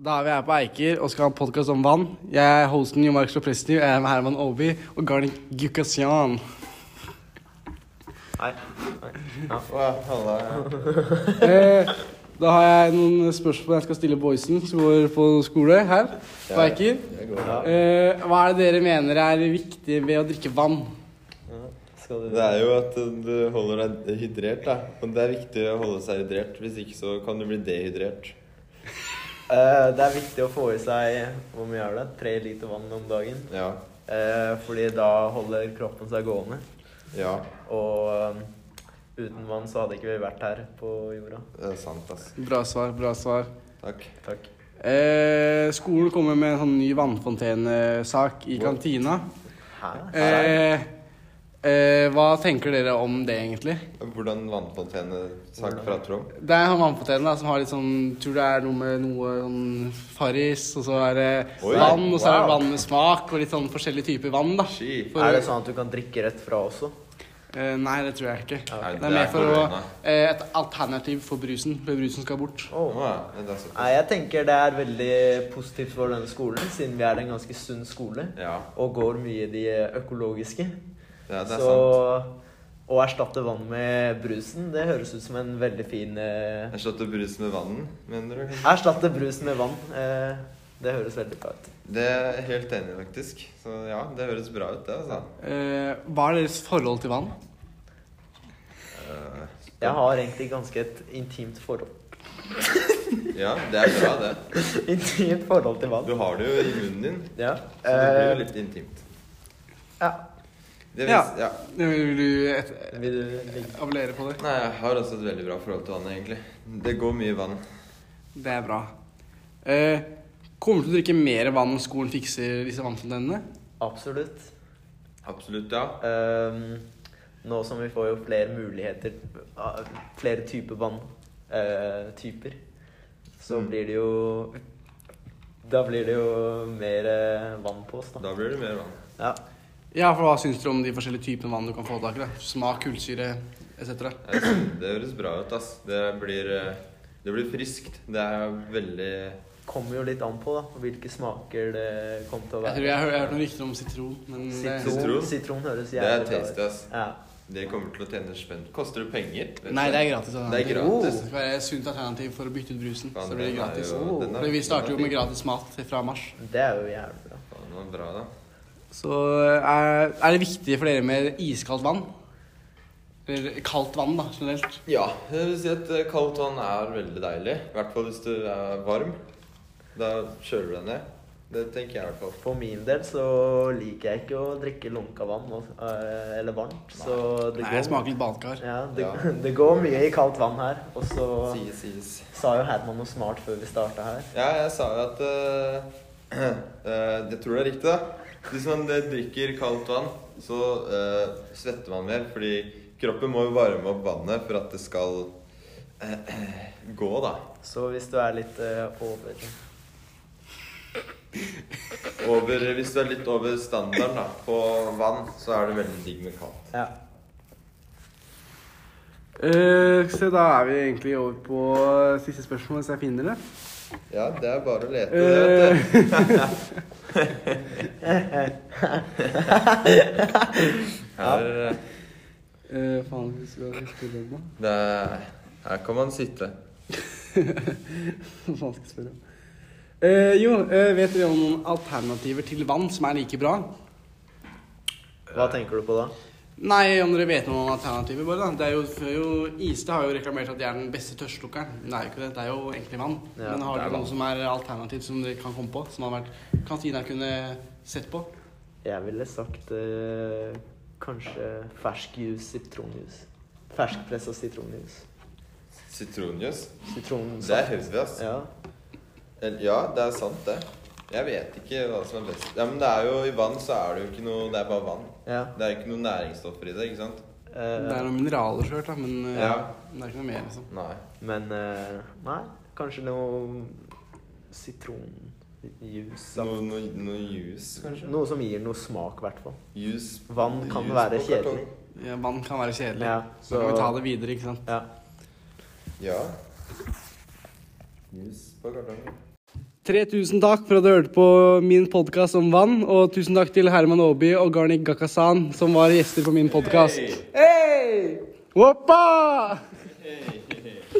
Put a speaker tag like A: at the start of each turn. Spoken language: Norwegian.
A: Da er vi her på Eiker og skal ha podkast om vann. Jeg er hosten Jo Mark Slopresti, og jeg er med Herman Aaby og Garnik Gukasian.
B: Nei.
A: Eh, da har jeg noen spørsmål jeg skal stille boysen som går på skole her på Eiker. Eh, hva er det dere mener er viktig ved å drikke vann?
B: Skal du
C: Det er jo at du holder deg hydrert, da. Men det er viktig å holde seg hydrert. Hvis ikke så kan du bli dehydrert.
B: Eh, Det er viktig å få i seg hvor mye er det? Tre liter vann om dagen.
C: Ja.
B: Eh, Fordi da holder kroppen seg gående.
C: Ja.
B: Og eh, uten vann så hadde ikke vi vært her på jorda.
C: Det er sant, ass.
A: Bra svar, bra svar.
C: Takk.
B: Takk.
A: Eh, skolen kommer med en sånn ny vannfontenesak i kantina.
B: Hæ?
A: Eh, eh, hva tenker dere om det, egentlig?
C: Hvordan vannfontene sak fra Trond?
A: Det er en vannfontene da, som har litt sånn Tror det er noe med noe sånn farris, og så er det
C: Oi,
A: vann, og så er det
B: wow.
A: vann med smak, og litt sånn forskjellige typer vann,
B: Ah.
A: da.
C: Shit.
A: For-
B: Er det sånn at du kan drikke rett fra også?
A: Eh, nei, det tror jeg ikke.
C: Nei,
A: Det er mer for å,
C: korona.
A: eh, et alternativ for brusen, for brusen skal bort.
C: Å,
B: Åh.
C: ja. Det er såpass.
B: Nei, jeg tenker det er veldig positivt for denne skolen, siden vi er en ganske sunn skole.
C: Ja.
B: Og går mye i de økologiske.
C: ja, det er
B: så
C: sant.
B: å erstatte vann med brusen, det høres ut som en veldig fin eh,
C: Jeg slått opp brus med vann, mener du?
B: Erstatte brus med vann. Eh, det høres veldig bra ut.
C: Det er jeg helt enig, i, faktisk. Så ja, det høres bra ut, det, altså.
A: Eh, hva er deres forhold til vann?
C: Eh,
B: Jeg har egentlig ganske et intimt forhold
C: Ja, det er bra, det.
B: Intimt forhold til vann.
C: Du har det jo i munnen din,
B: Ja.
C: så det blir jo
B: Eh,
C: litt intimt.
B: ja.
C: Det
A: Ja.
C: vis, ja.
A: Det Vil du et,
B: Vil du ligge
A: abonnere på det?
C: Nei, jeg har også et veldig bra forhold til vannet, egentlig. Det går mye vann.
A: Det er bra. Eh, kommer du til å drikke mer vann når skolen fikser disse vannfontenene?
B: Absolutt.
C: Absolutt, ja.
B: Ehm, nå som vi får jo flere muligheter, ah, flere typer vanntyper, så
C: Mm.
B: blir det jo Da blir det jo mer eh, vann på oss, da.
C: Da blir det mer vann.
B: Ja.
A: Ja, for hva syns dere om de forskjellige typene vann du kan få tak i? da? Smak, kullsyre etc.
C: Jeg synes Det høres bra ut, ass. Det blir, eh, det blir friskt. Det er veldig
B: Kommer jo litt an på da, hvilke smaker det kommer til å
A: Jeg
B: være.
A: tror jeg har jeg har hørt noen rykter om sitron, men eh, det,
C: Sitron.
B: Sitron, sitron høres
C: Det er
B: jævlig bra
C: tasty,
B: ut.
C: ass.
B: Ja.
C: Det kommer til å tjene spenn. Koster det penger? Vet
A: Nei,
C: du?
A: det er gratis. da.
C: Det er gratis.
A: Det skal være et sunt alternativ for å bytte ut brusen.
C: Faen,
A: så blir det
C: den er
A: gratis.
C: jo- den er-
A: Fordi vi starter jo
C: den er
A: med
C: fin.
A: gratis mat fra mars.
B: Det er jo jævlig bra.
C: Faen, det var bra, da.
A: Så er, er det viktig for dere med iskaldt vann? Eller kaldt vann, da, generelt.
C: Ja, jeg vil si at eh, kaldt vann er veldig deilig. I hvert fall hvis du er varm. Da kjøler du deg ned. Det tenker jeg i hvert fall.
B: For min del så liker jeg ikke å drikke lunka vann, og- eh, eller varmt. Så det
A: Nei,
B: går,
A: jeg smaker litt badekar.
B: ja, det,
C: Ja.
B: det går mye i kaldt vann her. Og så
C: Sies, sies.
B: sa jo Herman noe smart før vi starta her.
C: Ja, jeg sa jo at eh, eh, Jeg tror det er riktig, da. Hvis man eh, drikker kaldt vann, så eh, svetter man mer. Fordi kroppen må jo varme opp vannet for at det skal eh, eh, gå, da.
B: Så hvis du er litt eh, over
C: Over, hvis du er litt over standarden da, på vann, så er det veldig digg med kaldt.
B: Ja.
A: Eh, se, da er vi egentlig over på siste spørsmål, hvis jeg finner det.
C: Ja, det er bare å lete. det, vet du.
A: Eh,
C: Her, eh,
A: eh, faen, hvis vi hadde riktig lønn, da.
C: det er, her kan man sitte.
A: Hva faen skal jeg spørre om? Eh, jo, eh, vet dere om noen alternativer til vann som er like bra?
B: Hva tenker du på da?
A: Nei, om dere vet noe om alternativer, bare. da. Det er jo, før jo Iste har jo reklamert at de er den beste tørstlukkeren. Det er jo ikke det. Det er jo egentlig vann.
B: Ja,
A: Men har
C: det er
A: dere
C: vann.
A: noe som er alternativ som dere kan komme på? Som har vært kantina kunne sett på?
B: Jeg ville sagt eh, kanskje fersk juice, sitronjuice. Ferskpressa sitronjuice.
C: Sitronjuice. Det er
B: Sitronsaft.
C: heavy, ass.
B: Ja.
C: Eller- Eh, Ja, det er sant, det. Jeg vet ikke hva som er best. Ja, men det er jo, I vann så er det jo ikke noe Det er bare vann.
B: ja.
C: Det er ikke noe næringsstoffer i det, ikke sant?
B: Eh,
A: Det er noen mineraler så klart, da, men eh,
C: Ja.
A: det er ikke noe mer, liksom.
C: Nei.
B: Men eh, nei, kanskje noe sitronjuice.
C: Noe, noe, noe juice, kanskje?
B: Noe som gir noe smak, i hvert fall.
C: Juice
B: Vann kan
C: juice
B: være
C: på
B: kjedelig.
C: kartong.
A: liksom. Ja, vann kan være kjedelig.
B: Ja,
A: så...
B: så-
A: kan vi ta det videre, ikke sant.
B: Ja.
C: Ja. Juice på kartongen.
A: 3000 takk for at du hørte på min podkast om vann, og tusen takk til Herman Aaby og Garnik Gakkasan, som var gjester på min podkast. Hei! Woppa!